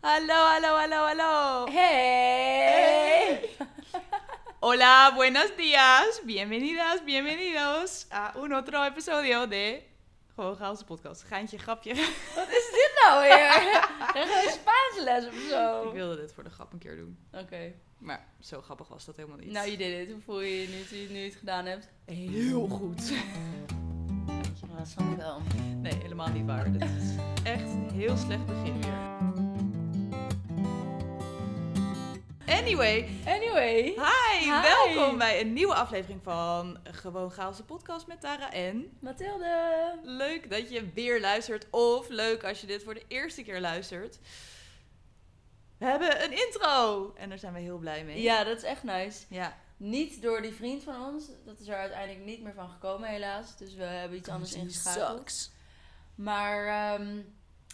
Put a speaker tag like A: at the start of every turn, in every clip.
A: Aló, aló, aló, aló.
B: Hey.
A: Hola, buenos días. Bienvenidas, bienvenidos a un otro episodio de Gewoon Gaalse Podcast. Gaantje, grapje.
B: Wat is dit nou weer? Dan gaan we Spaans les of zo.
A: Ik wilde dit voor de grap een keer doen.
B: Oké.
A: Maar zo grappig was dat helemaal niet.
B: Nou, je deed het. Hoe voel je je nu, toen je nu het gedaan hebt?
A: heel goed.
B: Ja, dat snap ik wel.
A: Nee, helemaal niet waar. Dit is echt een heel slecht begin weer. Anyway,
B: Anyway.
A: hi,
B: Hi.
A: welkom bij een nieuwe aflevering van Gewoon Gaalse Podcast met Tara en...
B: Mathilde.
A: Leuk dat je weer luistert. Of leuk als je dit voor de eerste keer luistert. We hebben een intro. En daar zijn we heel blij mee.
B: Ja, dat is echt nice.
A: ja.
B: Niet door die vriend van ons. Dat is er uiteindelijk niet meer van gekomen, helaas. Dus we hebben iets anders ingeschakeld. Maar ehm,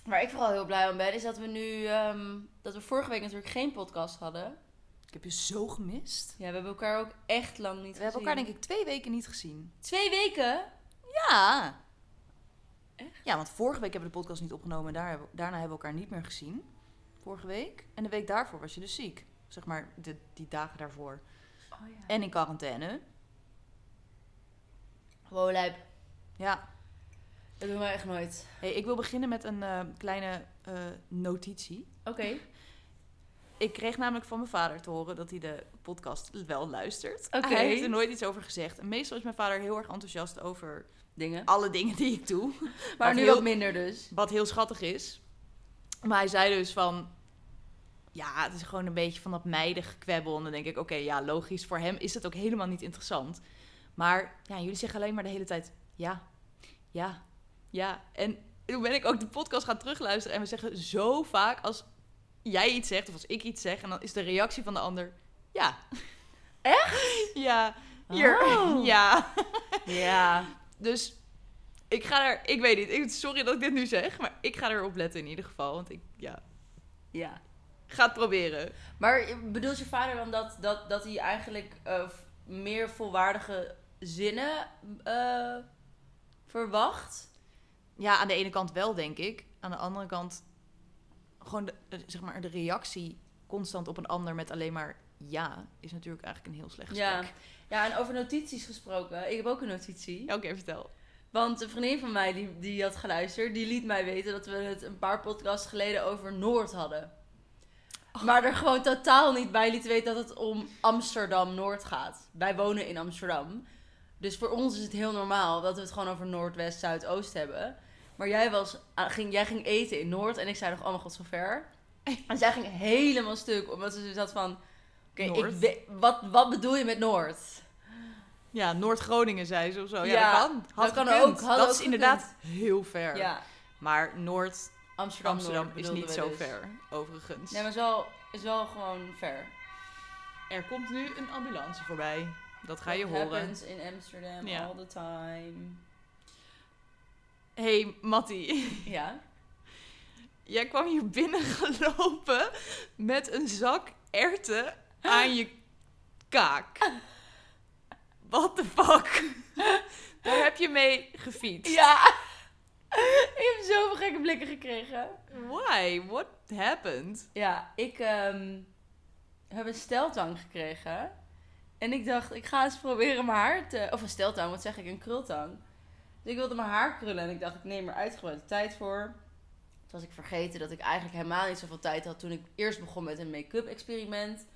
B: waar ik vooral heel blij om ben, is dat we nu... ehm, dat we vorige week natuurlijk geen podcast hadden.
A: Ik heb je zo gemist.
B: Ja, we hebben elkaar ook echt lang niet
A: We hebben elkaar denk ik twee weken niet gezien.
B: Twee weken?
A: Ja. Ja, want vorige week hebben we de podcast niet opgenomen. en Daar hebben, daarna hebben we elkaar niet meer gezien. Vorige week. En de week daarvoor was je dus ziek. Zeg maar de, die dagen daarvoor.
B: Oh ja.
A: En in quarantaine.
B: Wow, lijp.
A: Ja.
B: Dat doen wij echt nooit.
A: Hey, ik wil beginnen met een eh, kleine eh, notitie.
B: Oké.
A: Ik kreeg namelijk van mijn vader te horen dat hij de podcast wel luistert.
B: Oké.
A: Hij heeft er nooit iets over gezegd. En meestal is mijn vader heel erg enthousiast over
B: Dingen.
A: alle dingen die ik doe.
B: Maar,
A: Maar
B: nu
A: heel-
B: ook minder dus.
A: Wat heel schattig is. Maar hij zei dus van... Ja, het is gewoon een beetje van dat meidige kwebbel. En dan denk ik, oké, ja, logisch. Voor hem is het ook helemaal niet interessant. Maar ja, jullie zeggen alleen maar de hele tijd... Ja, ja, ja. En toen ben ik ook de podcast gaan terugluisteren. En we zeggen zo vaak als jij iets zegt of als ik iets zeg... en dan is de reactie van de ander... Ja. Echt? Ja. Hier.
B: Oh.
A: Ja.
B: Ja.
A: Dus ik ga er, ik weet niet, ik, sorry dat ik dit nu zeg, maar ik ga erop letten in ieder geval. Want ik, ja,
B: Ja.
A: ga het proberen.
B: Maar bedoelt je vader dan dat, dat, dat hij eigenlijk eh, f- meer volwaardige zinnen eh, verwacht?
A: Ja, aan de ene kant wel, denk ik. Aan de andere kant, gewoon de, eh, zeg maar, de reactie constant op een ander met alleen maar ja, is natuurlijk eigenlijk een heel slecht gesprek.
B: Ja. Ja, en over notities gesproken. Ik heb ook een notitie.
A: Oké, vertel.
B: Want een vriendin van mij die, die had geluisterd, die liet mij weten dat we het een paar podcasts geleden over Noord hadden.
A: Oh.
B: Maar er gewoon totaal niet bij liet weten dat het om Amsterdam-Noord gaat. Wij wonen in Amsterdam. Dus voor ons is het heel normaal dat we het gewoon over Noordwest, Zuidoost hebben. Maar jij, was, ah, ging, jij ging eten in Noord en ik zei nog, oh mijn god, zo ver. En zij ging helemaal stuk, omdat ze dus had van... Oké, ik
A: Noord?
B: weet- wat, wat bedoel je met Noord?
A: Ja, Noord-Groningen zei ze of zo. Ja,
B: Ja,
A: dat kan. Had
B: dat kan
A: gekund.
B: ook, had
A: dat
B: ook
A: is inderdaad heel ver.
B: Ja,
A: Maar Noord-Amsterdam
B: Amsterdam,
A: is niet zo
B: dus.
A: ver, overigens.
B: Nee, maar is wel, is wel gewoon ver.
A: Er komt nu een ambulance voorbij. Dat ga je
B: What
A: horen.
B: happens in Amsterdam
A: Ja.
B: all the time.
A: hey, Mattie.
B: Ja.
A: Jij kwam hier binnen gelopen met een zak erwten aan je kaak. What the fuck? Daar heb je mee gefietst.
B: Ja. ik heb zoveel gekke blikken gekregen.
A: Why? What happened?
B: Ja, ik ehm, heb een steltang gekregen. En ik dacht, ik ga eens proberen mijn haar te... Of een steltang, wat zeg ik? Een krultang. Dus ik wilde mijn haar krullen en ik dacht, ik neem er uitgebreid de tijd voor. Toen was ik vergeten dat ik eigenlijk helemaal niet zoveel tijd had toen ik eerst begon met een make-up experiment.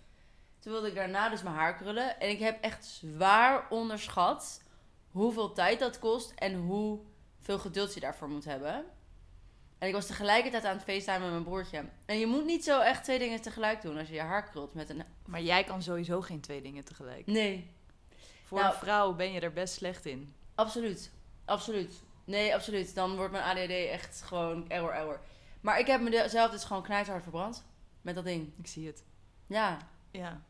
B: Toen wilde ik daarna dus mijn haar krullen. En ik heb echt zwaar onderschat hoeveel tijd dat kost en hoeveel geduld je daarvoor moet hebben. En ik was tegelijkertijd aan het facetimen met mijn broertje. En je moet niet zo echt twee dingen tegelijk doen als je je haar krult met een...
A: Maar jij kan sowieso geen twee dingen tegelijk.
B: Nee,
A: Voor
B: Nou-
A: een vrouw ben je er best slecht in.
B: Absoluut. Absoluut. Nee, absoluut. Dan wordt mijn ADD echt gewoon error, error. Maar ik heb mezelf dus gewoon knijterhard verbrand. Met dat ding.
A: Ik zie het.
B: Ja.
A: Ja.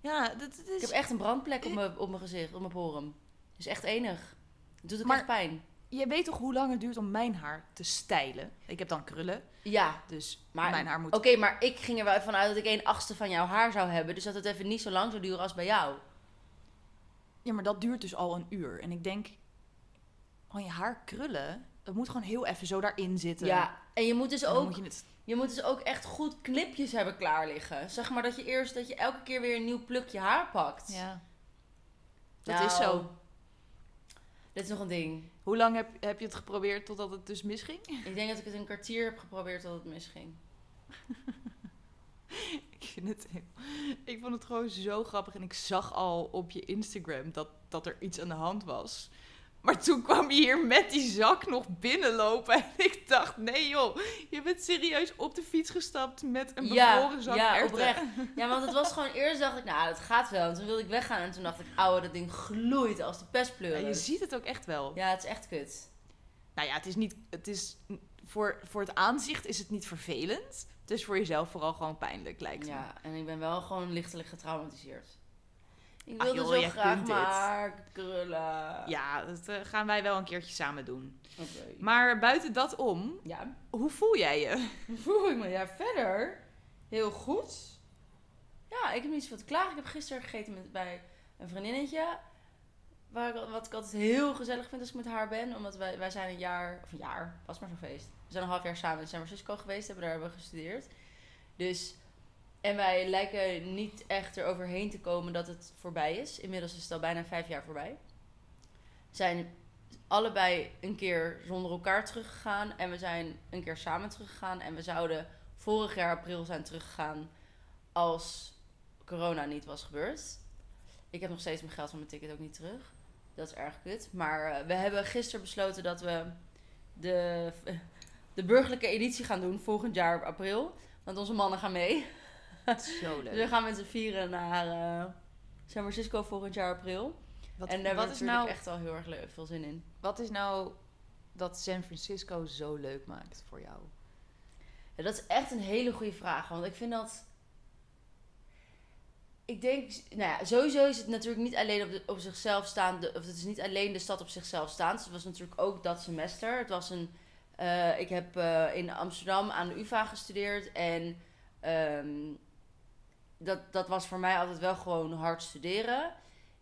A: Ja, dat, dat
B: Ik
A: is...
B: heb echt een brandplek op mijn, op mijn gezicht, op mijn porum. Dus echt enig. Het doet ook
A: Maar-
B: echt pijn.
A: Je weet toch hoe lang het duurt om mijn haar te stijlen? Ik heb dan krullen,
B: Ja.
A: dus
B: Maar-
A: mijn haar moet...
B: Oké, maar ik ging er wel even uit dat ik een achtste van jouw haar zou hebben. Dus dat het even niet zo lang zou duren als bij jou.
A: Ja, maar dat duurt dus al een uur. En ik denk, oh, je haar krullen het moet gewoon heel even zo daarin zitten.
B: Ja, en je moet dus
A: En dan
B: ook
A: moet je het
B: Je moet dus ook echt goed knipjes hebben klaar liggen. Zeg maar dat je eerst dat je elke keer weer een nieuw plukje haar pakt.
A: Ja. Dat
B: Nou,
A: is zo.
B: Dit is nog een ding.
A: Hoe lang heb, heb je het geprobeerd totdat het dus misging?
B: Ik denk dat ik het een kwartier heb geprobeerd dat het misging.
A: Ik, vind het heel- ik vond het gewoon zo grappig. En ik zag al op je Instagram dat, dat er iets aan de hand was. Maar toen kwam je hier met die zak nog binnenlopen. En ik dacht, nee joh, je bent serieus op de fiets gestapt met een bevroren zak
B: ja,
A: erwten.
B: oprecht. Ja, want het was gewoon eerst dacht ik, nou, dat gaat wel. En toen wilde ik weggaan en toen dacht ik, ouwe, dat ding gloeit als de
A: En
B: pestpleuren.
A: je ziet het ook echt wel.
B: Ja, het is echt kut.
A: Nou ja, het is niet... Het is, voor, voor het aanzicht is het niet vervelend. Het is voor jezelf vooral gewoon pijnlijk, lijkt me.
B: Ja, en ik ben wel gewoon lichtelijk getraumatiseerd. Ik
A: Ah,
B: wilde
A: joh,
B: zo
A: jij
B: graag
A: kunt dit.
B: maar krullen.
A: Ja, dat eh, gaan wij wel een keertje samen doen.
B: Oké.
A: Maar buiten dat om,
B: Ja,
A: hoe voel jij je?
B: Hoe voel ik me? Ja, verder heel goed. Ja, ik heb niets van te klagen. Ik heb gisteren gegeten met, bij een vriendinnetje. Waar ik al- wat ik altijd heel gezellig vind als ik met haar ben. Omdat wij, wij zijn een jaar, of een jaar, was maar zo'n feest. We zijn een half jaar samen in San Francisco geweest. Hebben daar hebben we gestudeerd. Dus, en wij lijken niet echt eroverheen te komen dat het voorbij is. Inmiddels is het al bijna vijf jaar voorbij. We zijn allebei een keer zonder elkaar teruggegaan. En we zijn een keer samen teruggegaan. En we zouden vorig jaar april zijn teruggegaan als corona niet was gebeurd. Ik heb nog steeds mijn geld van mijn ticket ook niet terug. Dat is erg kut. Maar eh, we hebben gisteren besloten dat we de, de burgerlijke editie gaan doen volgend jaar op april. Want onze mannen gaan mee.
A: Zo
B: Dus we gaan met z'n vieren naar eh, San Francisco volgend jaar april.
A: Wat,
B: en daar
A: wat,
B: hebben
A: is
B: we natuurlijk
A: nou,
B: echt al heel erg leuk, veel zin in.
A: wat is nou dat San Francisco zo leuk maakt voor jou?
B: Ja, dat is echt een hele goede vraag. Want ik vind dat. Ik denk, nou ja, sowieso is het natuurlijk niet alleen op, de- op zichzelf staan. de- of het is niet alleen de stad op zichzelf staan. Dus het was natuurlijk ook dat semester. Het was een. eh, ik heb eh, in Amsterdam aan de UVA gestudeerd. En ehm, dat, dat was voor mij altijd wel gewoon hard studeren.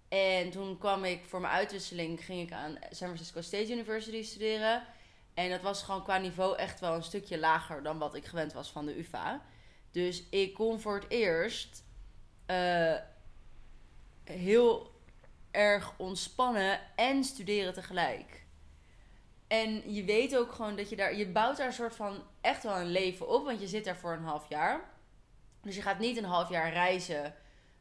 B: En toen kwam ik voor mijn uitwisseling ging ik aan San Francisco State University studeren. En dat was gewoon qua niveau echt wel een stukje lager dan wat ik gewend was van de UVA. Dus ik kon voor het eerst eh, heel erg ontspannen en studeren tegelijk. En je weet ook gewoon dat je daar, je bouwt daar een soort van echt wel een leven op, want je zit daar voor een half jaar. Dus je gaat niet een half jaar reizen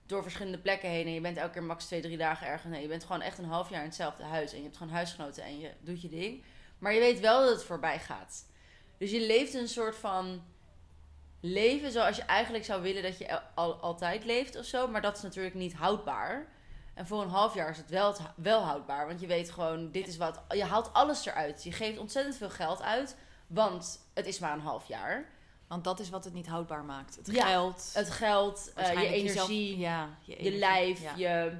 B: door verschillende plekken heen en je bent elke keer max twee, drie dagen ergens. Nee, je bent gewoon echt een half jaar in hetzelfde huis en je hebt gewoon huisgenoten en je doet je ding. Maar je weet wel dat het voorbij gaat. Dus je leeft een soort van leven zoals je eigenlijk zou willen dat je el- al, altijd leeft of zo. Maar dat is natuurlijk niet houdbaar. En voor een half jaar is het wel, het hou- wel houdbaar. Want je weet gewoon, dit is wat. Je haalt alles eruit. Je geeft ontzettend veel geld uit. Want het is maar een half jaar.
A: Want dat is wat het niet houdbaar maakt. Het
B: Ja,
A: geld,
B: Het geld, eh, je
A: waarschijnlijk jezelf-
B: energie
A: ja, je,
B: je
A: energie,
B: lijf,
A: ja.
B: je,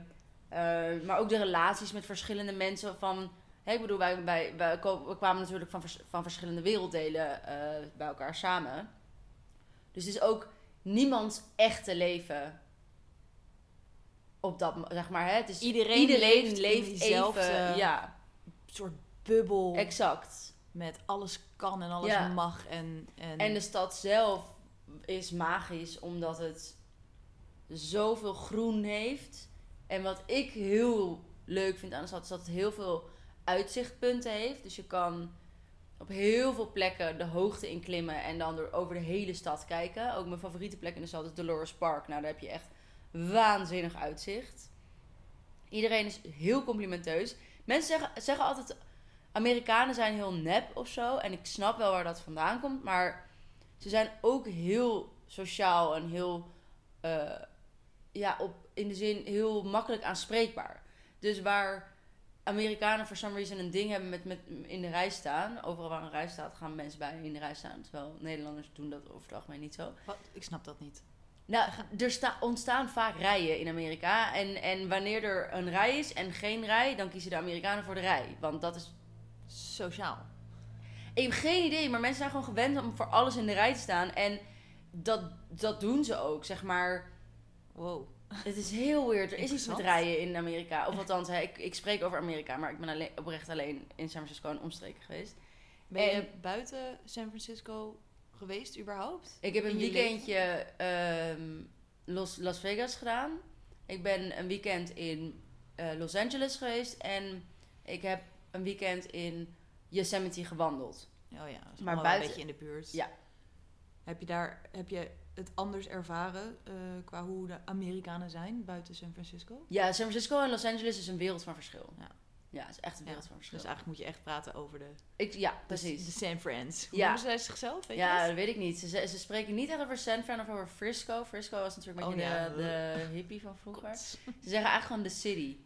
B: eh, maar ook de relaties met verschillende mensen. Van, hè, ik bedoel, wij, wij, wij ko- we kwamen natuurlijk van, vers- van verschillende werelddelen eh, bij elkaar samen. Dus het is ook niemands echte leven op dat, mo- zeg maar. Hè, het is,
A: Iedereen leeft in diezelfde-
B: even. Ja,
A: Een soort bubbel
B: exact.
A: met alles kan en alles
B: Ja.
A: mag. En, en,
B: En de stad zelf is magisch omdat het zoveel groen heeft. En wat ik heel leuk vind aan de stad is dat het heel veel uitzichtpunten heeft. Dus je kan op heel veel plekken de hoogte in klimmen en dan door over de hele stad kijken. Ook mijn favoriete plek in de stad is Dolores Park. Nou, daar heb je echt waanzinnig uitzicht. Iedereen is heel complimenteus. Mensen zeggen, zeggen altijd Amerikanen zijn heel nep of zo. En ik snap wel waar dat vandaan komt. Maar ze zijn ook heel sociaal en heel. eh, ja, op, in de zin heel makkelijk aanspreekbaar. Dus waar Amerikanen for some reason een ding hebben met, met in de rij staan. Overal waar een rij staat, gaan mensen bij in de rij staan. Terwijl Nederlanders doen dat over het algemeen niet zo.
A: Wat? Ik snap dat niet.
B: Nou, er sta- ontstaan vaak rijen in Amerika. En, en wanneer er een rij is en geen rij, dan kiezen de Amerikanen voor de rij. Want dat is
A: Sociaal.
B: Ik heb geen idee, maar mensen zijn gewoon gewend om voor alles in de rij te staan. En dat, dat doen ze ook, zeg maar.
A: Wow.
B: Het is heel weird. Er is iets met
A: Interessant.
B: rijden in Amerika. Of althans, hè, ik, ik spreek over Amerika, maar ik ben alleen, oprecht alleen in San Francisco en omstreken geweest.
A: Ben je
B: En-
A: buiten San Francisco geweest überhaupt?
B: Ik heb een
A: In je
B: weekendje ehm, Los, Las Vegas gedaan. Ik ben een weekend in eh, Los Angeles geweest. En ik heb een weekend in Yosemite gewandeld.
A: Oh ja, dat is
B: Maar
A: maar
B: buiten-
A: een beetje in de buurt.
B: Ja.
A: Heb je daar heb je het anders ervaren eh, qua hoe de Amerikanen zijn buiten San Francisco?
B: Ja, San Francisco en Los Angeles is een wereld van verschil.
A: Ja.
B: Ja, het is echt een wereld
A: Ja,
B: van verschil.
A: Dus eigenlijk moet je echt praten over de,
B: ik, ja,
A: de,
B: precies.
A: de San Frans. Hoe
B: Ja.
A: noemen zij zichzelf? Weet
B: ja,
A: je
B: dat weet ik niet. Ze, ze ze spreken niet echt over San Fran of over Frisco. Frisco was natuurlijk een
A: Oh,
B: beetje
A: ja.
B: de, de hippie van
A: dat?
B: vroeger.
A: God.
B: Ze zeggen eigenlijk gewoon de city.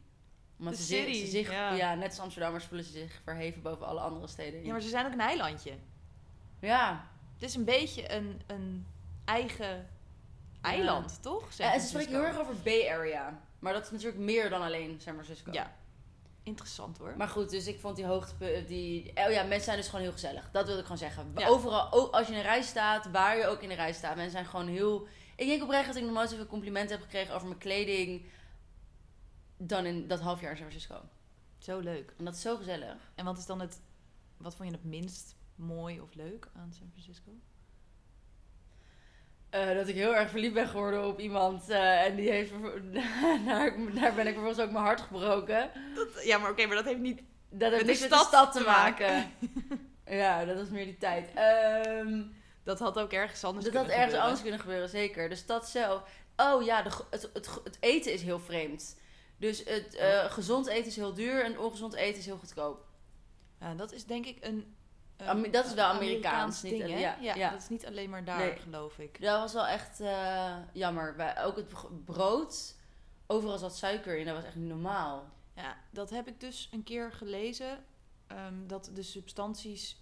B: Omdat
A: The
B: ze, zich-
A: city,
B: ze zich,
A: ja.
B: ja. net als Amsterdammers voelen ze zich verheven boven alle andere steden. in.
A: Ja, maar ze zijn ook een eilandje.
B: ja.
A: Het is een beetje een, een eigen eiland, toch? San
B: Ja, en ze spreken
A: Francisco.
B: heel erg over Bay Area. Maar dat is natuurlijk meer dan alleen San Francisco.
A: Ja. Interessant hoor.
B: Maar goed, dus ik vond die hoogtepunten... Die... Oh ja, mensen zijn dus gewoon heel gezellig. Dat wil ik gewoon zeggen.
A: Ja.
B: Overal, ook als je in een rij staat, waar je ook in de rij staat. Mensen zijn gewoon heel... Ik denk oprecht dat ik nog nooit zoveel complimenten heb gekregen over mijn kleding... dan in dat half jaar in San Francisco.
A: Zo leuk.
B: En dat is zo gezellig.
A: En wat is dan het... Wat vond je het minst mooi of leuk aan San Francisco?
B: Eh, dat ik heel erg verliefd ben geworden op iemand. eh, en die heeft... daar, daar ben ik vervolgens ook mijn hart gebroken.
A: ja, maar oké, maar dat heeft niet...
B: Dat heeft
A: Met de
B: niks met de
A: stad
B: stad
A: te
B: te maken. ja, dat was meer die tijd. Ehm,
A: Dat had ook ergens anders
B: dat had
A: kunnen
B: ergens
A: gebeuren.
B: anders kunnen gebeuren, zeker. De stad zelf. Oh ja, de, ge- het, het, ge- het eten is heel vreemd. Dus het eh, gezond eten is heel duur en ongezond eten is heel goedkoop.
A: Ja, dat is denk ik een... een-
B: Ami- dat is wel
A: een
B: Amerikaans, niet-
A: ding, hè?
B: ja,
A: Ja,
B: ja.
A: dat is niet alleen maar daar,
B: Nee.
A: geloof ik.
B: Dat was wel echt eh, jammer. Bij, ook het br- brood, overal zat suiker in. Dat was echt niet normaal.
A: Ja, dat heb ik dus een keer gelezen. ehm, dat de substanties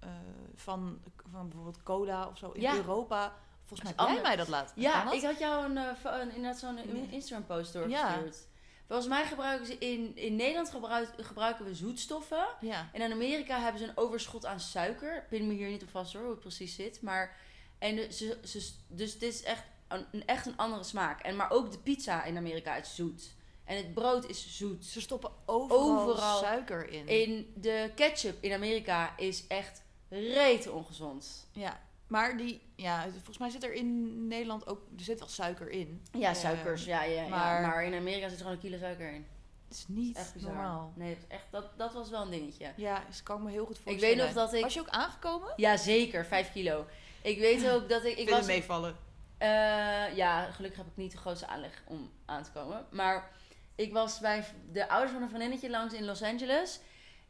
A: eh, van, van bijvoorbeeld cola of zo in
B: Ja.
A: Europa... Volgens mij heb
B: is
A: jij
B: anders.
A: mij dat laten.
B: Ja, ik had jou een, eh, fo- een, inderdaad zo'n
A: Nee.
B: Instagram-post doorgestuurd. Volgens mij gebruiken ze in, in Nederland gebruik- gebruiken we zoetstoffen.
A: Ja.
B: En in Amerika hebben ze een overschot aan suiker. Pin me hier niet op vast hoor, hoe het precies zit. Maar, en de- ze, ze, dus dit is echt een, een- echt een andere smaak. En, maar ook de pizza in Amerika is zoet. En het brood is zoet.
A: Ze stoppen overal,
B: Overal.
A: suiker in.
B: In de ketchup in Amerika is echt reet ongezond.
A: Ja, maar die, ja, volgens mij zit er in Nederland ook, er zit wel suiker in.
B: Ja,
A: Eh,
B: suikers. Ja, ja, ja. Maar,
A: maar-
B: in Amerika zit gewoon een kilo suiker in.
A: Het is niet
B: Echt bizar.
A: normaal.
B: Nee, dat, is echt, dat, dat was wel een dingetje.
A: Ja, dus kan ik me heel goed
B: Ik
A: voorstellen.
B: weet nog dat ik...
A: Was je ook aangekomen?
B: Ja, zeker. Vijf kilo. Ik weet ook dat ik... Ik was
A: meevallen.
B: Eh, ja, gelukkig heb ik niet de grootste aanleg om aan te komen. Maar ik was bij de ouders van een vriendinnetje langs in Los Angeles.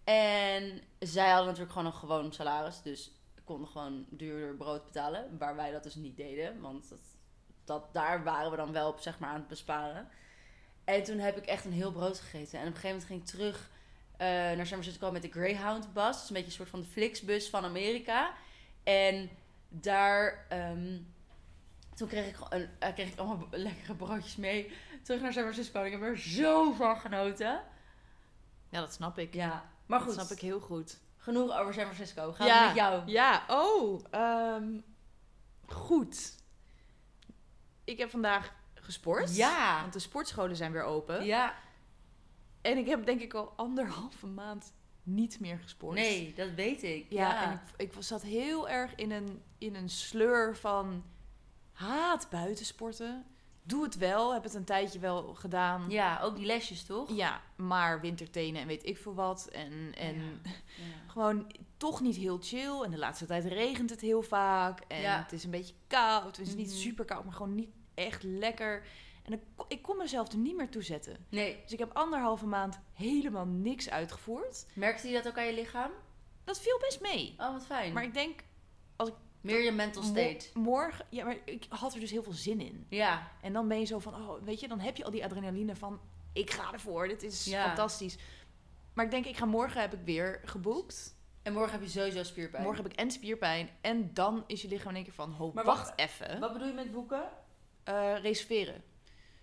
B: En zij hadden natuurlijk gewoon een gewoon salaris. Dus konden gewoon duurder brood betalen. Waar wij dat dus niet deden. Want dat, dat, daar waren we dan wel op zeg maar, aan het besparen. En toen heb ik echt een heel brood gegeten. En op een gegeven moment ging ik terug eh, naar San Francisco met de Greyhound bus. Dat is een beetje een soort van de Flixbus van Amerika. En daar... ehm, toen kreeg ik, gewoon een, eh, kreeg ik allemaal lekkere broodjes mee. Terug naar San Francisco. En ik heb er zo van genoten.
A: Ja, dat snap ik.
B: Ja, maar
A: dat
B: goed.
A: snap ik heel goed.
B: Genoeg over San Francisco. Gaan
A: Ja.
B: we met jou.
A: Ja, oh, ehm, goed. Ik heb vandaag gesport.
B: Ja.
A: Want de sportscholen zijn weer open.
B: Ja.
A: En ik heb denk ik al anderhalve maand niet meer gesport.
B: Nee, dat weet ik.
A: Ja,
B: Ja.
A: en ik, ik was- zat heel erg in een, in een sleur van haat buitensporten. Doe het wel, heb het een tijdje wel gedaan. Ja,
B: Ja, ook die lesjes toch?
A: maar wintertenen en weet ik veel wat. En, en
B: Ja.
A: gewoon toch niet heel chill. En de laatste tijd regent het heel vaak. En
B: Ja.
A: het is een beetje koud. Het is niet
B: Mhm.
A: super koud, maar gewoon niet echt lekker. En ik, kon- ik kon mezelf er niet meer toe zetten.
B: Nee,
A: Dus ik heb anderhalve maand helemaal niks uitgevoerd.
B: merkte je dat ook aan je lichaam?
A: Dat viel best mee.
B: Oh, wat fijn.
A: Maar ik denk
B: Meer je mental state.
A: Mo- morgen, ja, maar ik had er dus heel veel zin in.
B: Ja,
A: En dan ben je zo van, oh, weet je, dan heb je al die adrenaline van, ik ga ervoor, dit is
B: Ja.
A: fantastisch. Maar ik denk, ik ga morgen, heb ik weer geboekt.
B: en morgen heb je sowieso spierpijn.
A: Morgen heb ik en spierpijn. En dan is je lichaam in één keer van, ho,
B: Maar
A: wacht,
B: wacht.
A: even.
B: Wat bedoel je met boeken?
A: Eh, reserveren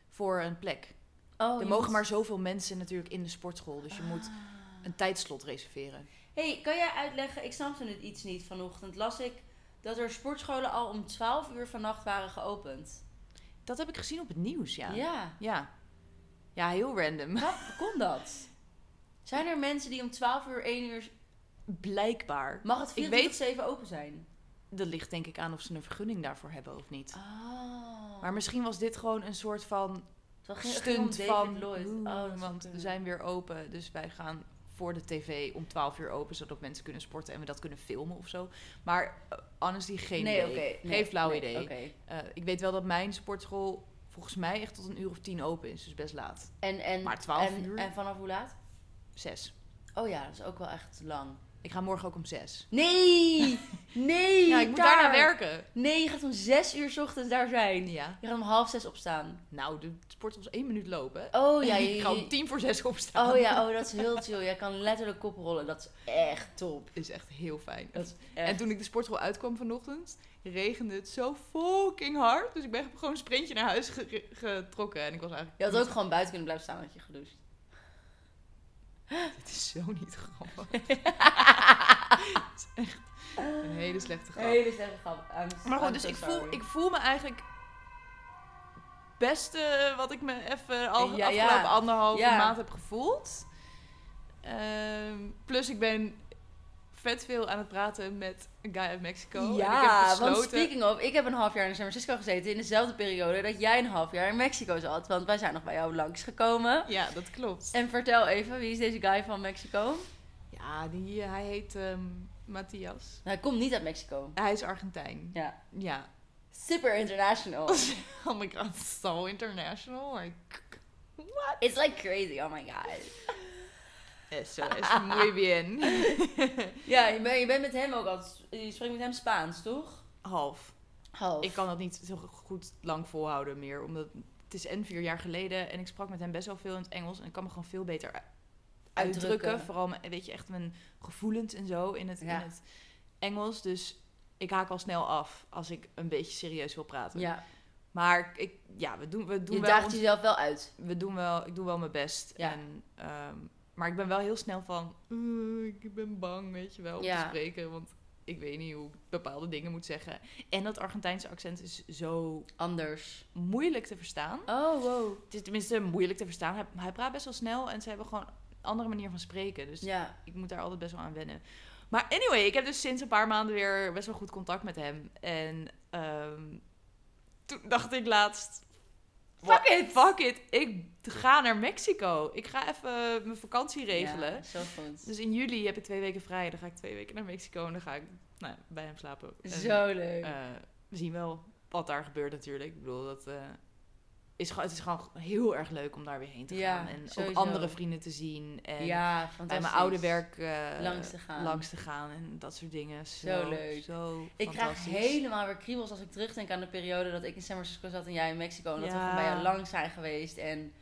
A: voor een plek.
B: Oh,
A: er mogen maar zoveel mensen natuurlijk in de sportschool,
B: Ah.
A: dus je moet een tijdslot reserveren.
B: hey, kan jij uitleggen? Ik snapte het iets niet vanochtend. Las ik dat er sportscholen al om 12 uur vannacht waren geopend.
A: Dat heb ik gezien op het nieuws, ja.
B: ja.
A: Ja, ja heel random.
B: Hoe kon dat? Zijn er mensen die om 12 uur, 1 uur
A: Blijkbaar.
B: Mag het
A: Ik weet-
B: 24 7 open zijn?
A: Dat ligt denk ik aan of ze een vergunning daarvoor hebben of niet.
B: Ah.
A: Maar misschien was dit gewoon een soort van
B: het ging- ging om
A: stunt van...
B: Lloyd.
A: "Oeh,
B: Oh, dat zou
A: want we
B: kunnen.
A: zijn weer open, dus wij gaan voor de tv om 12 uur open... zodat mensen kunnen sporten en we dat kunnen filmen of zo. Maar eh, honestly, geen idee.
B: nee, oké.
A: Geen
B: nee,
A: flauw
B: nee,
A: idee.
B: oké.
A: Eh, ik weet wel dat mijn sportschool volgens mij echt tot een uur of tien open is. Dus best laat.
B: En, en,
A: Maar 12
B: en,
A: uur?
B: En vanaf hoe laat?
A: Zes.
B: Oh ja, dat is ook wel echt lang.
A: Ik ga morgen ook om zes.
B: Nee! Nee!
A: Ja, ik moet
B: daar.
A: daarna werken.
B: Nee, je gaat om 6 uur 's ochtends daar zijn.
A: Ja.
B: Je gaat om half zes opstaan.
A: Nou, de sportschool is één minuut lopen.
B: Oh ja, je,
A: ik ga om
B: je-
A: tien voor zes opstaan.
B: Oh ja, oh, dat is heel chill. Jij kan letterlijk koprollen. Dat is echt top.
A: Is echt heel fijn.
B: Dat is echt...
A: En toen ik de sportschool uitkwam vanochtend, regende het zo fucking hard. Dus ik ben gewoon een sprintje naar huis ge- getrokken. En ik was eigenlijk...
B: Je had ook gewoon buiten kunnen blijven staan, had je gedoucht.
A: Dit is zo niet grappig. Het is echt een hele slechte grap.
B: Hele slechte grap. I'm-
A: Maar
B: I'm
A: goed, dus
B: so
A: ik voel,
B: sorry.
A: ik voel me eigenlijk best eh, wat ik me even al
B: Ja, ja.
A: afgelopen anderhalve
B: Ja.
A: maand heb gevoeld. Ehm, plus ik ben vet veel aan het praten met een guy uit Mexico. en ik heb
B: Ja, want
A: besloten...
B: speaking of, ik heb een half jaar in San Francisco gezeten in dezelfde periode dat jij een half jaar in Mexico zat. Want wij zijn nog bij jou langsgekomen.
A: Ja, dat klopt.
B: En vertel even, wie is deze guy van Mexico? Nou,
A: Ja, die, eh, hij heet ehm Matthias.
B: hij komt niet uit Mexico.
A: Hij is Argentijn.
B: Ja.
A: Ja.
B: Super international.
A: Oh my god, so international. Like,
B: It's like crazy, oh my god. Eh,
A: eso es muy bien.
B: Ja, je bent, je bent met hem ook altijd, je spreekt met hem Spaans, toch?
A: Half.
B: Half.
A: Ik kan dat niet zo goed lang volhouden meer. Omdat het is en vier jaar geleden. En ik sprak met hem best wel veel in het Engels. En ik kan me gewoon veel beter u- uitdrukken.
B: Uitdrukken.
A: Vooral, mijn- weet je, echt mijn gevoelens en zo in het,
B: Ja.
A: in het Engels. Dus ik haak al snel af als ik een beetje serieus wil praten.
B: Ja,
A: Maar ik, ja, we doen, we doen
B: je
A: wel...
B: daagt
A: ons-
B: jezelf wel uit.
A: we doen wel, ik doe wel mijn best.
B: Ja.
A: En, ehm, maar ik ben wel heel snel van, "Oeh, ik ben bang, weet je wel, om
B: Ja.
A: te spreken. Want ik weet niet hoe ik bepaalde dingen moet zeggen. En dat Argentijnse accent is zo
B: Anders.
A: moeilijk te verstaan.
B: Oh, wow.
A: Het is tenminste moeilijk te verstaan. Hij, hij praat best wel snel en ze hebben gewoon een andere manier van spreken. Dus
B: Ja.
A: ik moet daar altijd best wel aan wennen. Maar anyway, ik heb dus sinds een paar maanden weer best wel goed contact met hem. En ehm, toen dacht ik laatst...
B: Fuck it!
A: Fuck it, ik ga naar Mexico. Ik ga even mijn vakantie regelen.
B: Ja, zo goed.
A: Dus in juli heb ik twee weken vrij. Dan ga ik twee weken naar Mexico en dan ga ik nou, bij hem slapen. En,
B: Zo leuk.
A: eh, we zien wel wat daar gebeurt natuurlijk. Ik bedoel, dat, eh, is, gewoon- het is gewoon heel erg leuk om daar weer heen te
B: Ja,
A: gaan. En
B: sowieso.
A: ook andere vrienden te zien. En
B: ja,
A: bij
B: fantastisch.
A: mijn oude werk eh,
B: Langs te gaan.
A: langs te gaan en dat soort dingen. Zo,
B: Zo leuk.
A: Zo
B: Ik krijg
A: fantastisch.
B: helemaal weer kriebels als ik terugdenk aan de periode dat ik in San Francisco zat en jij in Mexico. En dat we
A: Ja.
B: gewoon bij jou lang zijn geweest. En.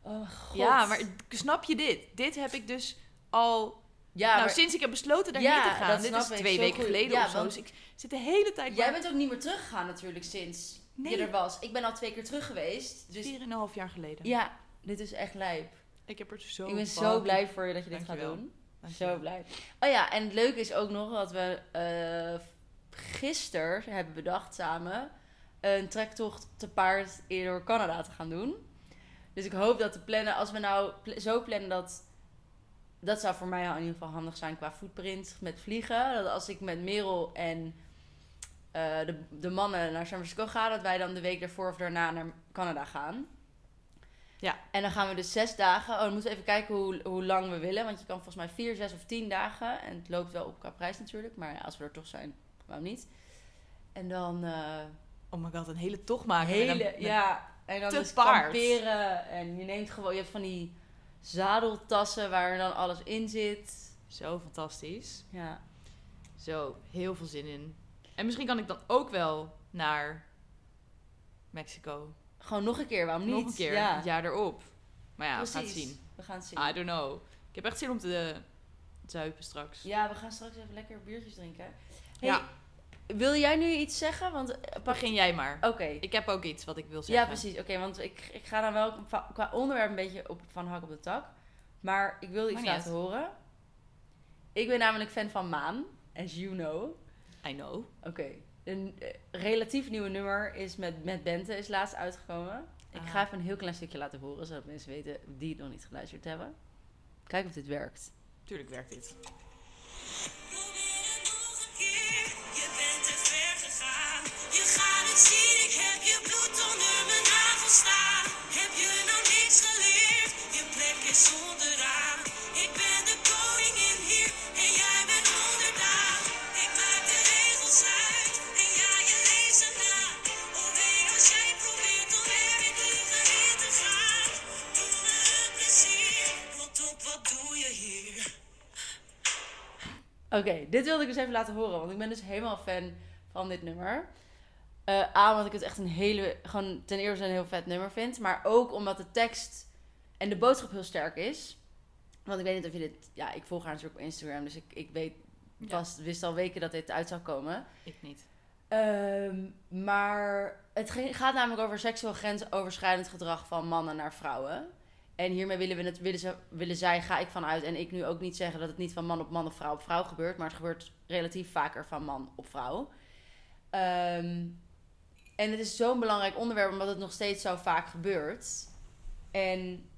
B: Oh, mijn god.
A: Ja, maar snap je dit? Dit heb ik dus al
B: Ja,
A: nou,
B: maar
A: sinds ik heb besloten daar
B: Ja,
A: heen te gaan.
B: dat
A: Dit
B: snap
A: is
B: ik,
A: twee
B: zo
A: weken
B: goed.
A: geleden
B: Ja,
A: of zo.
B: want-
A: Dus ik zit de hele tijd
B: jij
A: maar
B: bent ook niet meer teruggegaan natuurlijk sinds
A: Nee.
B: je er was. Ik ben al twee keer terug geweest. Dus
A: vier en een half jaar geleden.
B: ja, dit is echt lijp.
A: Ik heb er zo
B: ik ben zo
A: fucking-
B: blij voor je dat je dit
A: Dankjewel.
B: gaat doen. Zo
A: Dankjewel.
B: blij. Oh ja, en het leuke is ook nog dat we eh gisteren hebben bedacht samen een trektocht te paard in- door Canada te gaan doen. Dus ik hoop dat de plannen, als we nou pl- zo plannen dat. Dat zou voor mij al in ieder geval handig zijn qua footprint met vliegen. Dat als ik met Merel en eh, de, de mannen naar San Francisco ga, dat wij dan de week daarvoor of daarna naar Canada gaan.
A: Ja.
B: En dan gaan we dus zes dagen. Oh, dan moeten we even kijken hoe, hoe lang we willen. Want je kan volgens mij vier, zes of tien dagen. En het loopt wel op qua prijs natuurlijk. Maar ja, als we er toch zijn, waarom niet? En dan. eh,
A: Oh my god, een hele tocht maken. met
B: Hele,
A: een- met-
B: ja. En dan
A: te
B: dus
A: paard.
B: kamperen. En je neemt gewoon, je hebt van die zadeltassen waar dan alles in zit.
A: Zo fantastisch.
B: Ja.
A: Zo, heel veel zin in. En misschien kan ik dan ook wel naar Mexico.
B: Gewoon nog een keer, waarom niet?
A: Nog een keer,
B: Ja,
A: het jaar erop. Maar ja, we
B: precies.
A: gaan het zien. Ah, dus-
B: We gaan het zien.
A: I don't know. Ik heb echt zin om te eh, zuipen straks.
B: Ja, we gaan straks even lekker biertjes drinken. Hey,
A: Ja.
B: Wil jij nu iets zeggen? Want, eh, pak-
A: Begin jij maar.
B: Oké.
A: Ik heb ook iets wat ik wil zeggen.
B: Ja, precies. Oké, want ik, ik ga dan wel va- qua onderwerp een beetje op, van hak op de tak. Maar ik wil iets
A: Maakt niet
B: laten horen. Ik ben namelijk fan van Maan, as you know.
A: I know.
B: Oké. Een eh, relatief nieuwe nummer is met, met Bente is laatst uitgekomen. Ik
A: Ah.
B: ga even een heel klein stukje laten horen, zodat mensen weten die het nog niet geluisterd hebben. Kijk of dit werkt.
A: Tuurlijk werkt dit.
C: Probeer het nog een keer, je bent te ver gegaan. Je gaat het zien, ik heb je bloed onder mijn navel staan. Heb je nou niks geleerd? Je plek is onderaan. Ik ben de koningin hier en jij bent onderdaan. Ik maak de regels uit en jij je leest ze na. Oh nee, als jij probeert om er weer tegenin te gaan. Doe me een plezier, want op wat doe je hier?
B: Oké, dit wilde ik dus even laten horen, want ik ben dus helemaal fan van dit nummer. Eh A, omdat ik het echt een hele, gewoon ten eerste een heel vet nummer vind, maar ook omdat de tekst en de boodschap heel sterk is. Want ik weet niet of je dit, ja, ik volg haar natuurlijk op Instagram, dus ik, ik weet,
A: Ja.
B: vast, wist al weken dat dit uit zou komen.
A: Ik niet.
B: Ehm, maar het ge- gaat namelijk over seksueel grensoverschrijdend gedrag van mannen naar vrouwen. En hiermee willen, we het, willen, ze, willen zij, ga ik vanuit, en ik nu ook niet zeggen dat het niet van man op man of vrouw op vrouw gebeurt, maar het gebeurt relatief vaker van man op vrouw. Ehm, en het is zo'n belangrijk onderwerp omdat het nog steeds zo vaak gebeurt. En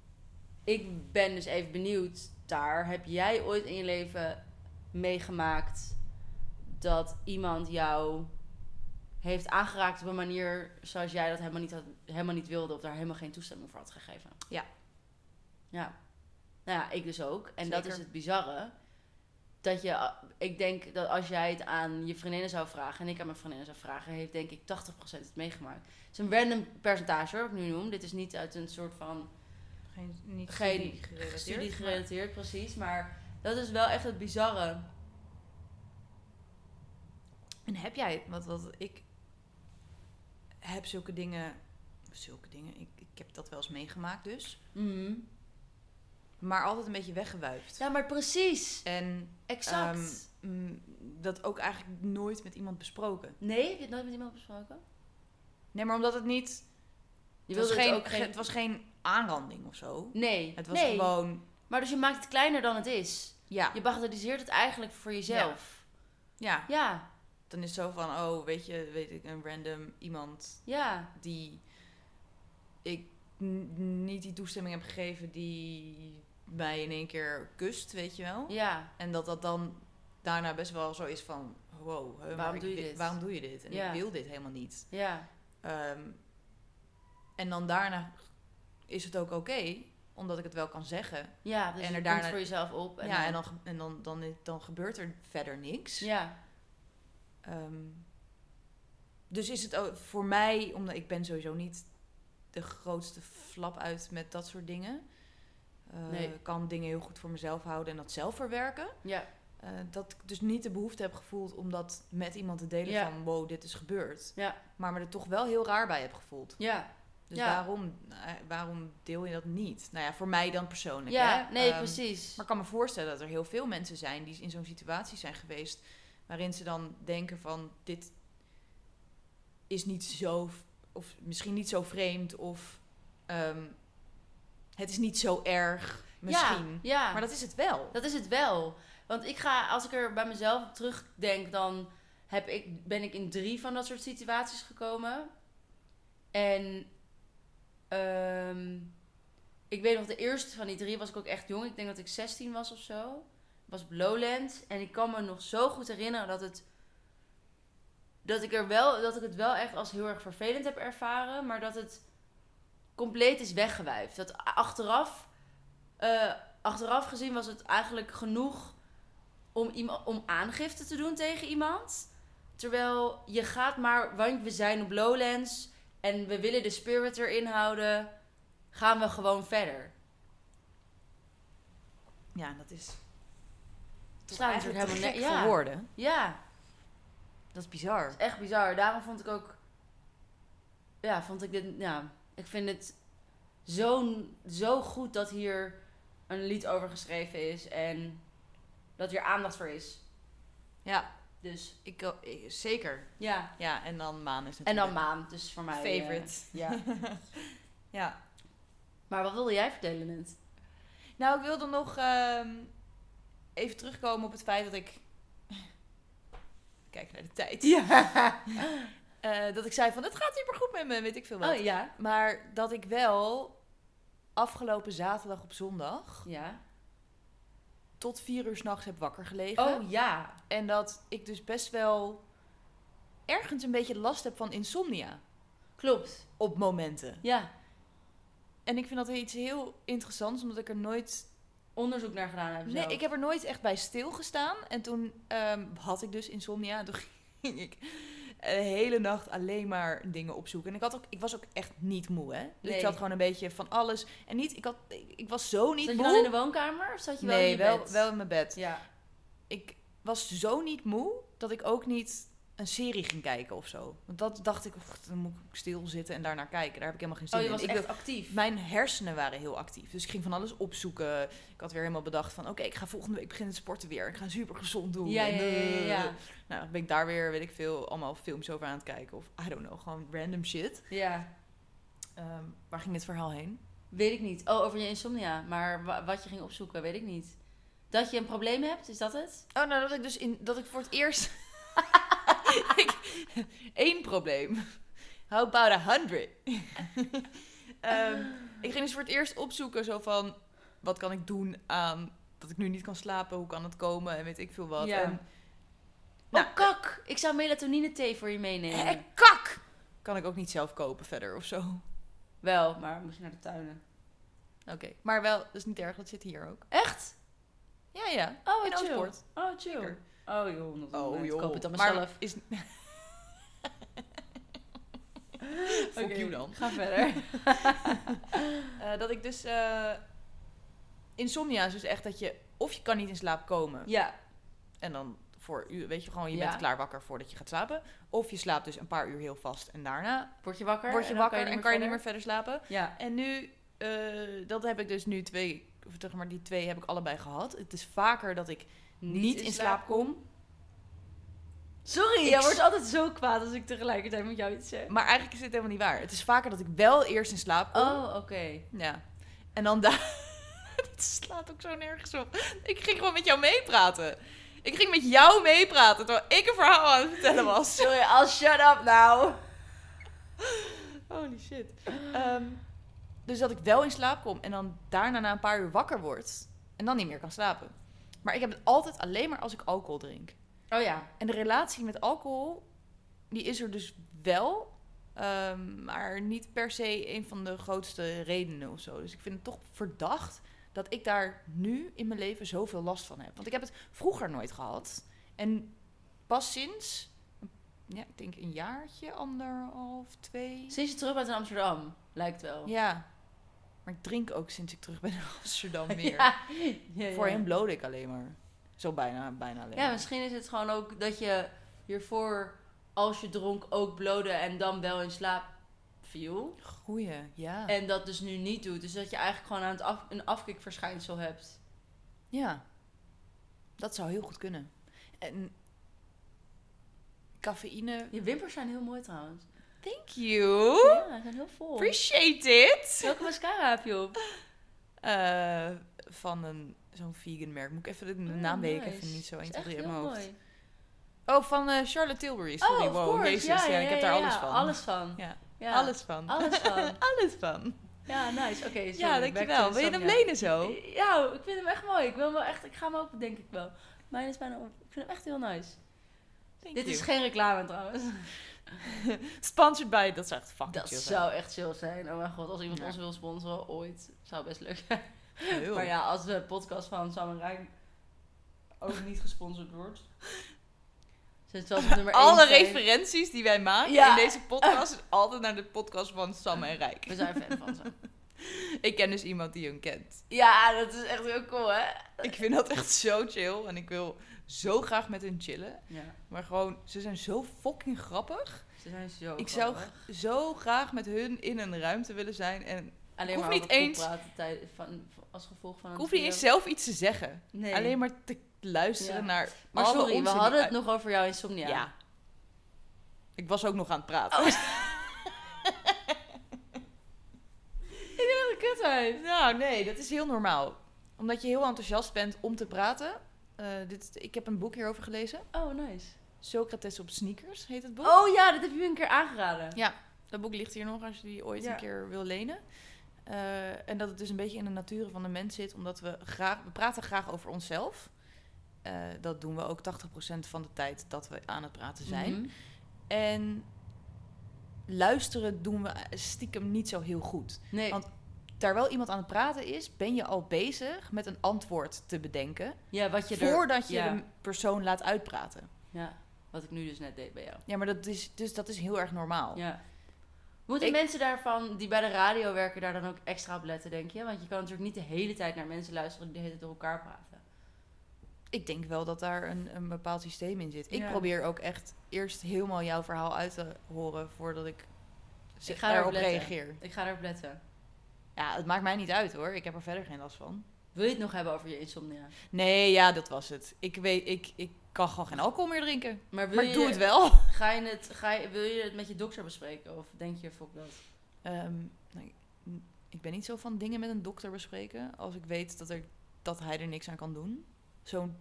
B: ik ben dus even benieuwd daar. Heb jij ooit in je leven meegemaakt dat iemand jou heeft aangeraakt op een manier zoals jij dat helemaal niet, had, helemaal niet wilde of daar helemaal geen toestemming voor had gegeven.
A: Ja.
B: Ja. Nou ja, ik dus ook. En dat
A: Zeker.
B: is het bizarre. Dat je, eh, ik denk dat als jij het aan je vriendinnen zou vragen en ik aan mijn vriendinnen zou vragen, heeft denk ik 80% het meegemaakt. Het is een random percentage hoor, wat ik nu noem. Dit is niet uit een soort van
A: Geen, niet
B: geen studie gerelateerd, precies. Maar dat is wel echt het bizarre.
A: En heb jij, want wat ik heb zulke dingen, zulke dingen, ik, ik heb dat wel eens meegemaakt dus, maar altijd een beetje weggewuifd.
B: Ja, maar precies.
A: En
B: Exact.
A: ehm, mm, dat ook eigenlijk nooit met iemand besproken.
B: nee, heb je het nooit met iemand besproken?
A: Nee, maar omdat het niet,
B: Je
A: het, was
B: wilde
A: dus geen,
B: het ook geen...
A: het was geen aanranding of zo.
B: Nee,
A: Het was
B: nee.
A: gewoon,
B: Maar dus je maakt het kleiner dan het is.
A: ja,
B: Je bagatelliseert het eigenlijk voor jezelf.
A: ja.
B: Ja,
A: Dan is het zo van, oh, weet je, weet ik, een random iemand
B: ja.
A: die ik n- niet die toestemming heb gegeven die mij in één keer kust, weet je wel.
B: Ja, ja.
A: En dat dat dan daarna best wel zo is van... Wow, hè, maar
B: Waarom
A: ik
B: doe je
A: wi-
B: dit?
A: Waarom doe je dit? En
B: Ja.
A: ik wil dit helemaal niet.
B: ja.
A: Ehm, en dan daarna is het ook oké, omdat ik het wel kan zeggen.
B: dus
A: En
B: je
A: er
B: komt
A: daarna-
B: voor jezelf op. En
A: ja,
B: dan...
A: en, dan, ge- en dan, dan, dan gebeurt er verder niks.
B: Ja,
A: Ehm, dus is het ook voor mij, omdat ik ben sowieso niet de grootste flap uit met dat soort dingen. Eh,
B: Nee.
A: Ik kan dingen heel goed voor mezelf houden en dat zelf verwerken.
B: ja,
A: Eh, dat ik dus niet de behoefte heb gevoeld om dat met iemand te delen
B: Ja.
A: van wow, dit is gebeurd.
B: Ja.
A: Maar me er toch wel heel raar bij heb gevoeld.
B: ja.
A: Dus
B: Ja.
A: waarom, eh, waarom deel je dat niet? Nou ja, voor mij dan persoonlijk.
B: ja.
A: hè?
B: nee,
A: Ehm,
B: precies.
A: Maar ik kan me voorstellen dat er heel veel mensen zijn die in zo'n situatie zijn geweest. waarin ze dan denken van dit is niet zo, of misschien niet zo vreemd, of ehm, het is niet zo erg, misschien.
B: Ja, ja.
A: Maar dat is het wel.
B: Dat is het wel. Want ik ga, als ik er bij mezelf op terugdenk, dan heb ik, ben ik in drie van dat soort situaties gekomen. En ehm, ik weet nog, de eerste van die drie was ik ook echt jong. Ik denk dat ik 16 was of zo. Ik was op Lowlands. En ik kan me nog zo goed herinneren dat het. Dat ik, er wel, dat ik het wel echt als heel erg vervelend heb ervaren. Maar dat het compleet is weggewuifd. Dat achteraf. eh, achteraf gezien was het eigenlijk genoeg om, iema- om aangifte te doen tegen iemand. Terwijl je gaat maar, want we zijn op Lowlands en we willen de spirit erin houden, gaan we gewoon verder.
A: Ja, dat is.
B: Het slaat natuurlijk helemaal nergens ja.
A: voor woorden.
B: Ja,
A: Dat is bizar.
B: het is echt bizar. Daarom vond ik ook, ja, vond ik dit, ja, ik vind het zo, zo goed dat hier een lied over geschreven is en dat hier aandacht voor is.
A: Ja,
B: Dus
A: ik, eh, ik- zeker.
B: ja.
A: Ja, en dan Maan is
B: En
A: natuurlijk
B: dan Maan, dus voor mij. eh,
A: favorite.
B: ja.
A: ja.
B: Maar wat wilde jij vertellen net?
A: Nou, ik wilde nog ehm, even terugkomen op het feit dat ik... Kijk naar de tijd.
B: Ja.
A: Eh, dat ik zei van, het gaat supergoed met me, weet ik veel wat.
B: Oh ja.
A: Maar dat ik wel afgelopen zaterdag op zondag
B: Ja.
A: tot vier uur s'nachts heb wakker gelegen.
B: Oh ja.
A: En dat ik dus best wel ergens een beetje last heb van insomnia
B: Klopt.
A: op momenten.
B: Ja.
A: En ik vind dat iets heel interessants, omdat ik er nooit...
B: Onderzoek naar gedaan hebben
A: Nee, ik heb er nooit echt bij stilgestaan. En toen ehm, had ik dus insomnia. En toen ging ik de hele nacht alleen maar dingen opzoeken. En ik, had ook, ik was ook echt niet moe, hè. Dus
B: Nee.
A: ik zat gewoon een beetje van alles. En niet, ik, had, ik, ik was zo niet
B: Zat je
A: moe.
B: dan in de woonkamer of zat je wel
A: nee,
B: in je
A: wel,
B: bed?
A: wel in mijn bed.
B: Ja.
A: ik was zo niet moe dat ik ook niet een serie ging kijken of zo. Want dat dacht ik, "Och, dan moet ik stilzitten en daarnaar kijken. Daar heb ik helemaal geen zin
B: Oh, je
A: in.
B: was
A: ik
B: echt
A: wil-
B: actief.
A: mijn hersenen waren heel actief. Dus ik ging van alles opzoeken. Ik had weer helemaal bedacht van... oké, ik ga volgende week beginnen te sporten weer. Ik ga super gezond doen.
B: Ja,
A: En,
B: ja, ja, ja, ja.
A: Nou, dan ben ik daar weer, weet ik veel... allemaal films over aan het kijken. Of, I don't know, gewoon random shit.
B: Ja.
A: Ehm, waar ging dit verhaal heen?
B: Weet ik niet. Oh, over je insomnia. Maar wa- wat je ging opzoeken, weet ik niet. Dat je een probleem hebt, is dat het?
A: Oh, nou, dat ik dus in, dat ik voor het eerst. ik, één probleem. How about a hundred? Ehm,
B: Oh,
A: ik ging dus voor het eerst opzoeken, zo van. Wat kan ik doen aan dat ik nu niet kan slapen? Hoe kan het komen? En weet ik veel wat.
B: Ja.
A: En, Nou,
B: oh, kak! Ik zou melatonine thee voor je meenemen.
A: Eh, kak! Kan ik ook niet zelf kopen verder of zo. Oké.
B: Wel, maar moest je naar de tuinen.
A: Maar wel, dat is niet erg, dat zit hier ook.
B: Echt?
A: Ja, ja.
B: Oh,
A: In
B: chill.
A: Oostpoort.
B: Oh, chill.
A: Zeker.
B: Oh, joh. dat- Ik koop het dan
A: Maar
B: mezelf.
A: Is... Fuck
B: Oké,
A: you dan.
B: Ga verder.
A: Eh, dat ik dus. eh, insomnia is dus echt dat je. Of je kan niet in slaap komen.
B: ja.
A: En dan voor u, weet je gewoon, je
B: Ja.
A: bent klaar wakker voordat je gaat slapen. Of je slaapt dus een paar uur heel vast en daarna
B: Word je wakker?
A: word je
B: en dan
A: wakker en kan je niet meer
B: verder?
A: verder slapen.
B: Ja.
A: En nu, eh, dat heb ik dus nu twee, of zeg maar die twee heb ik allebei gehad. Het is vaker dat ik niet, in slaap kom.
B: Sorry,
A: Ik
B: jij
A: s-
B: wordt altijd zo kwaad als ik tegelijkertijd met jou iets zeg.
A: Maar eigenlijk is dit helemaal niet waar. Het is vaker dat ik wel eerst in slaap kom.
B: Oh, oké.
A: Ja. En dan daar... Dit slaat ook zo nergens op. Ik ging gewoon met jou meepraten. Ik ging met jou meepraten terwijl ik een verhaal aan het vertellen was.
B: Sorry, I'll shut up now.
A: Holy shit. Ehm, dus dat ik wel in slaap kom en dan daarna na een paar uur wakker word. En dan niet meer kan slapen. Maar ik heb het altijd alleen maar als ik alcohol drink.
B: Oh ja.
A: En de relatie met alcohol, die is er dus wel. ehm, maar niet per se een van de grootste redenen of zo. Dus ik vind het toch verdacht dat ik daar nu in mijn leven zoveel last van heb. Want ik heb het vroeger nooit gehad. En pas sinds, ja, ik denk een jaartje, anderhalf, twee.
B: Sinds je terug bent in Amsterdam, lijkt wel.
A: Ja. Maar ik drink ook sinds ik terug ben in Amsterdam weer.
B: Ja, ja, ja.
A: Voorheen blode ik alleen maar. Zo bijna, bijna alleen
B: Ja,
A: maar.
B: misschien is het gewoon ook dat je hiervoor, als je dronk, ook blode en dan wel in slaap viel.
A: Goeie, ja.
B: En dat dus nu niet doet. Dus dat je eigenlijk gewoon aan het af, een afkikverschijnsel hebt.
A: Ja, dat zou heel goed kunnen. En cafeïne.
B: Je wimpers zijn heel mooi trouwens.
A: Thank you.
B: Ja, ze zijn heel vol.
A: Appreciate it.
B: Welke mascara heb je op?
A: Eh, van een, zo'n vegan merk. Moet ik even de de naam weet ik
B: Oh, nice.
A: even niet zo 1,
B: Is
A: 2,
B: echt
A: 3 in
B: heel
A: mijn hoofd.
B: mooi. Oh,
A: Oh, van eh, Charlotte Tilbury. Sorry,
B: of
A: wow.
B: course.
A: Jezus, ja, ik heb daar
B: ja,
A: alles
B: ja.
A: van.
B: Alles van.
A: Ja.
B: Ja.
A: Alles van.
B: Alles van.
A: Alles van.
B: Ja, nice. Oké, sorry.
A: ja,
B: back to
A: dankjewel. Wil je hem
B: insomnia.
A: lenen zo?
B: Ja, ik vind hem echt mooi. Ik wil hem wel echt... Ik ga hem open, denk ik wel. Mijn is bijna op. Ik vind hem echt heel nice.
A: Thank
B: Dit
A: you.
B: is geen reclame trouwens.
A: Sponsored by, dat zou echt fucking
B: Dat
A: Oh, chill
B: zou echt chill zijn. Oh mijn god, als iemand
A: Ja.
B: ons wil sponsoren ooit, zou best leuk zijn.
A: zijn. Heel.
B: Maar ja, als de podcast van Sam en Rijn ook niet gesponsord wordt. Zit wel op nummer één
A: Alle
B: zijn.
A: referenties die wij maken
B: Ja.
A: in deze podcast is altijd naar de podcast van Sam en Rijk.
B: We zijn fan van ze.
A: Ik ken dus iemand die hem kent.
B: Ja, dat is echt heel cool, hè?
A: Ik vind dat echt zo chill en ik wil zo graag met hun chillen.
B: Ja,
A: Maar gewoon, ze zijn zo fucking grappig.
B: ze zijn zo
A: Ik zou
B: grappig.
A: g- zo graag met hun in een ruimte willen zijn en
B: Alleen
A: hoef
B: maar
A: niet
B: over poep
A: eens-
B: praten tij- van, als gevolg van
A: ik
B: een
A: hoef niet
B: trio.
A: eens zelf iets te zeggen.
B: Nee.
A: Alleen maar te luisteren
B: Ja.
A: naar
B: Maar
A: alle
B: sorry, we
A: onzin die
B: hadden het
A: uit-
B: nog over jouw insomnia.
A: Ja. Oh. Ik was ook nog aan het praten.
B: Ik ben echt een kutwijf.
A: Nou, nee, dat is heel normaal. Omdat je heel enthousiast bent om te praten. Eh, dit, ik heb een boek hierover gelezen.
B: Oh, nice.
A: Socrates op sneakers heet het boek.
B: Oh ja, dat heb je me een keer aangeraden.
A: Ja, dat boek ligt hier nog als je die ooit
B: Ja.
A: een keer wil lenen. Eh, en dat het dus een beetje in de natuur van de mens zit, omdat we graag, we praten graag over onszelf. Eh, dat doen we ook 80% van de tijd dat we aan het praten zijn.
B: Mhm.
A: En luisteren doen we stiekem niet zo heel goed.
B: Nee,
A: Want- Terwijl iemand aan het praten is, ben je al bezig met een antwoord te bedenken.
B: ja, wat je er-
A: voordat je
B: ja,
A: de persoon laat uitpraten.
B: ja, wat ik nu dus net deed bij jou.
A: Ja, maar dat is, dus dat is heel erg normaal.
B: Ja. Moeten
A: Ik-
B: mensen daarvan, die bij de radio werken, daar dan ook extra op letten, denk je? Want je kan natuurlijk niet de hele tijd naar mensen luisteren die de hele tijd door elkaar praten.
A: Ik denk wel dat daar een, een bepaald systeem in zit. Ik
B: Ja.
A: probeer ook echt eerst helemaal jouw verhaal uit te horen voordat ik, ze-
B: Ik ga erop
A: daarop
B: letten.
A: reageer.
B: Ik ga daarop letten.
A: Ja, het maakt mij niet uit hoor. Ik heb er verder geen last van.
B: Wil je het nog hebben over je insomnia?
A: Nee, ja, dat was het. Ik weet, ik, ik kan gewoon geen alcohol meer drinken.
B: Maar, wil
A: Maar
B: je,
A: doe het wel.
B: Ga je het, ga je, wil je het met je dokter bespreken? Of denk je, fuck dat?
A: Ehm, nee, n- ik ben niet zo van dingen met een dokter bespreken als ik weet dat, er, dat hij er niks aan kan doen. Zo'n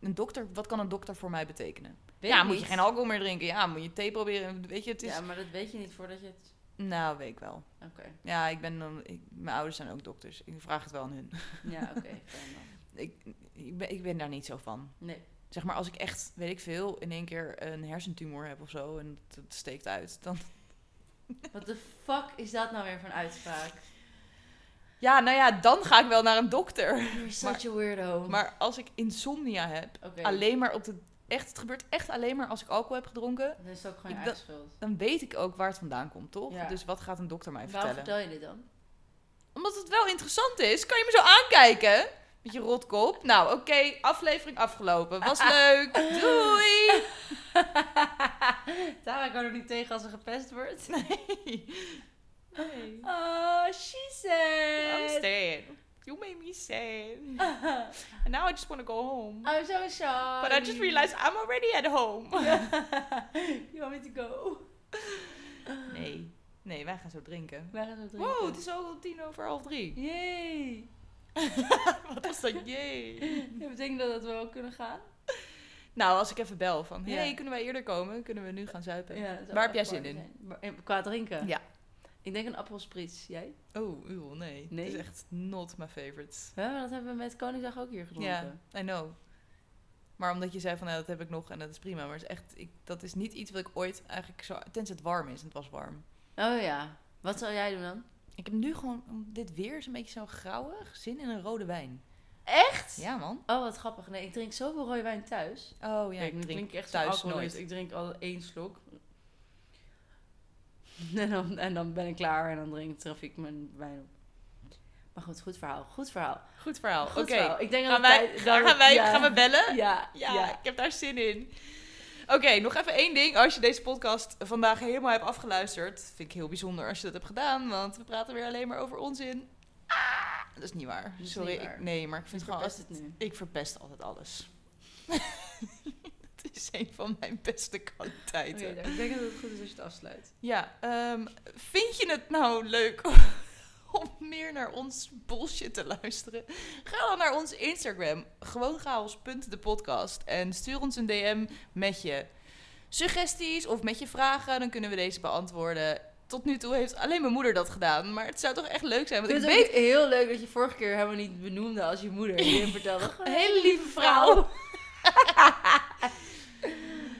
A: een dokter, wat kan een dokter voor mij betekenen?
B: Weet
A: ja,
B: ik
A: moet je
B: niet.
A: geen alcohol meer drinken. Ja, moet je thee proberen. Weet je, het is.
B: Ja, maar dat weet je niet voordat je het...
A: Nou, weet ik wel.
B: Oké.
A: Ja, ik ben dan. Ik, mijn ouders zijn ook dokters. Ik vraag het wel aan hun.
B: Ja, oké. fijn dan.
A: Ik, ik, ben, ik ben daar niet zo van.
B: nee.
A: Zeg maar, als ik echt, weet ik veel, in één keer een hersentumor heb of zo en het, het steekt uit, dan.
B: Wat de fuck is dat nou weer voor een uitspraak?
A: Ja, nou ja, dan ga ik wel naar een dokter.
B: You're such a weirdo.
A: Maar als ik insomnia heb,
B: Oké.
A: alleen maar op de. Echt, het gebeurt echt alleen maar als ik alcohol heb gedronken.
B: Dan is het ook gewoon je
A: Ik
B: eigen
A: dat-
B: schuld.
A: Dan weet ik ook waar het vandaan komt, toch?
B: Ja.
A: Dus wat gaat een dokter mij
B: Waarom
A: vertellen?
B: vertel je dit dan?
A: Omdat het wel interessant is. Kan je me zo aankijken? Met je rotkop. Nou, oké. aflevering afgelopen. Was leuk. Doei.
B: Tara kan er niet tegen als ze gepest wordt.
A: Nee.
B: Oh, she
A: I'm
B: said.
A: sad. You made me sad. Oh, And now I just want to go home.
B: I'm so sorry.
A: But I just realized I'm already at home.
B: you want me to go?
A: Nee. Nee, wij gaan zo drinken.
B: Wij gaan zo drinken.
A: Wow, het is al tien over half drie.
B: Yay.
A: Wat is dat? Jee.
B: Dat betekent dat, dat we ook kunnen gaan?
A: Nou, als ik even bel van...
B: Ja.
A: hey, kunnen wij eerder komen? Kunnen we nu gaan zuipen?
B: Ja, dat zou
A: Waar heb
B: wel
A: jij
B: echt
A: zin in?
B: warm zijn. Maar- in- Qua drinken?
A: Ja.
B: Ik denk een appelsprits. Jij?
A: Oh, uw, nee.
B: Nee?
A: Het is echt not my favorite.
B: Ja, maar dat hebben we met Koningsdag ook hier gedronken.
A: Ja, I know. Maar omdat je zei van, nou, dat heb ik nog en dat is prima. Maar het is echt, ik, dat is niet iets wat ik ooit eigenlijk zo... Tenzij het warm is, en het was warm.
B: Oh ja. Wat zou jij doen dan?
A: Ik heb nu gewoon, om- dit weer is een beetje zo grauwig, zin in een rode wijn.
B: Echt?
A: Ja, man.
B: Oh, wat grappig. Nee, ik drink zoveel rode wijn thuis.
A: Oh ja,
B: Kijk,
A: ik
B: nu
A: drink
B: klink ik echt
A: thuis
B: thuis nooit.
A: nooit.
B: Ik drink al één slok. En dan, en dan ben ik klaar en dan drink traf ik mijn wijn op. Maar goed, goed verhaal. Goed verhaal.
A: Goed verhaal. Oké,
B: Goed verhaal. Ik denk dat
A: gaan,
B: het
A: wij,
B: tijd-
A: gaan,
B: dat-
A: wij,
B: ja.
A: gaan we bellen?
B: Ja,
A: Ja,
B: ja.
A: ik heb daar zin in. Oké, nog even één ding. Als je deze podcast vandaag helemaal hebt afgeluisterd, vind ik heel bijzonder als je dat hebt gedaan, want we praten weer alleen maar over onzin. Ah, dat is niet waar.
B: is
A: Sorry,
B: niet
A: ik-
B: waar.
A: nee, maar ik vind
B: Ik
A: gewoon.
B: verpest
A: Als,
B: het nu.
A: ik verpest altijd alles. Het is een van mijn beste kwaliteiten.
B: Oké, ik denk dat het goed is als je het afsluit.
A: Ja, ehm, vind je het nou leuk om meer naar ons bullshit te luisteren? Ga dan naar ons Instagram, gewoonchaos.depodcast. En stuur ons een DM met je suggesties of met je vragen. Dan kunnen we deze beantwoorden. Tot nu toe heeft alleen mijn moeder dat gedaan. Maar het zou toch echt leuk zijn,
B: Ik
A: want ik
B: vind het
A: weet...
B: ook heel leuk dat je vorige keer helemaal niet benoemde als je moeder. Je hem vertelde gewoon
A: Een hele lieve vrouw.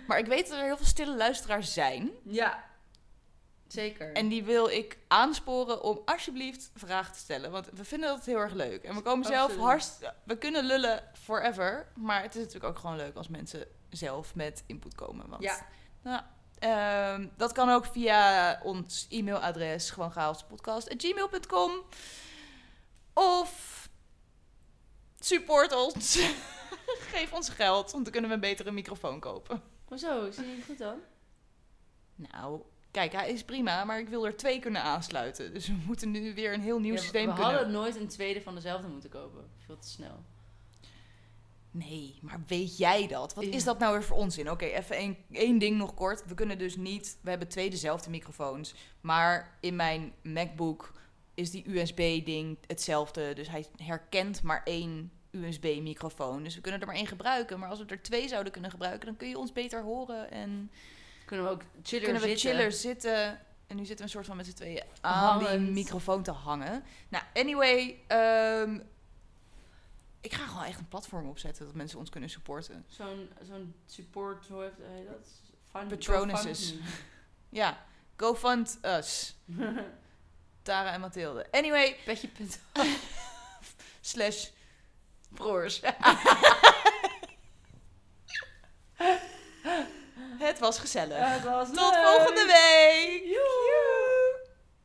A: Maar ik weet dat er heel veel stille luisteraars zijn.
B: Ja, zeker.
A: En die wil ik aansporen om alsjeblieft vragen te stellen. Want we vinden dat heel erg leuk. En we komen zelf
B: Absoluut.
A: hartst... We kunnen lullen forever. Maar het is natuurlijk ook gewoon leuk als mensen zelf met input komen. Want,
B: Ja.
A: Nou, ehm, dat kan ook via ons e-mailadres. Gewoon chaospodcast.gmail.com Of support ons. Geef ons geld. Want dan kunnen we een betere microfoon kopen.
B: Hoezo? Zie je het goed dan?
A: Nou, kijk, hij is prima, maar ik wil er twee kunnen aansluiten. Dus we moeten nu weer een heel nieuw
B: Ja, we-
A: systeem
B: we
A: kunnen.
B: hadden nooit een tweede van dezelfde moeten kopen. Veel te snel.
A: Nee, maar weet jij dat? Wat
B: Ja.
A: is dat nou weer voor onzin? Oké, even één, één ding nog kort. We kunnen dus niet... We hebben twee dezelfde microfoons. Maar in mijn MacBook is die USB-ding hetzelfde. Dus hij herkent maar één USB-microfoon. Dus we kunnen er maar één gebruiken. Maar als we er twee zouden kunnen gebruiken... dan kun je ons beter horen en...
B: Kunnen we ook chiller
A: kunnen we
B: zitten.
A: chiller zitten. En nu zitten we een soort van met z'n tweeën aan die
B: Hangend.
A: microfoon te hangen. Nou, anyway. ehm, ik ga gewoon echt een platform opzetten dat mensen ons kunnen supporten.
B: Zo'n zo'n support, hoe heet- heet dat? Fund-
A: Patronuses. Ja, go fund us.
B: GoFundMe.
A: Tara en Mathilde. Anyway,
B: Petje punt.
A: slash broers. Het was gezellig.
B: Ja, dat was
A: Tot
B: leuk.
A: volgende week.
B: Joe.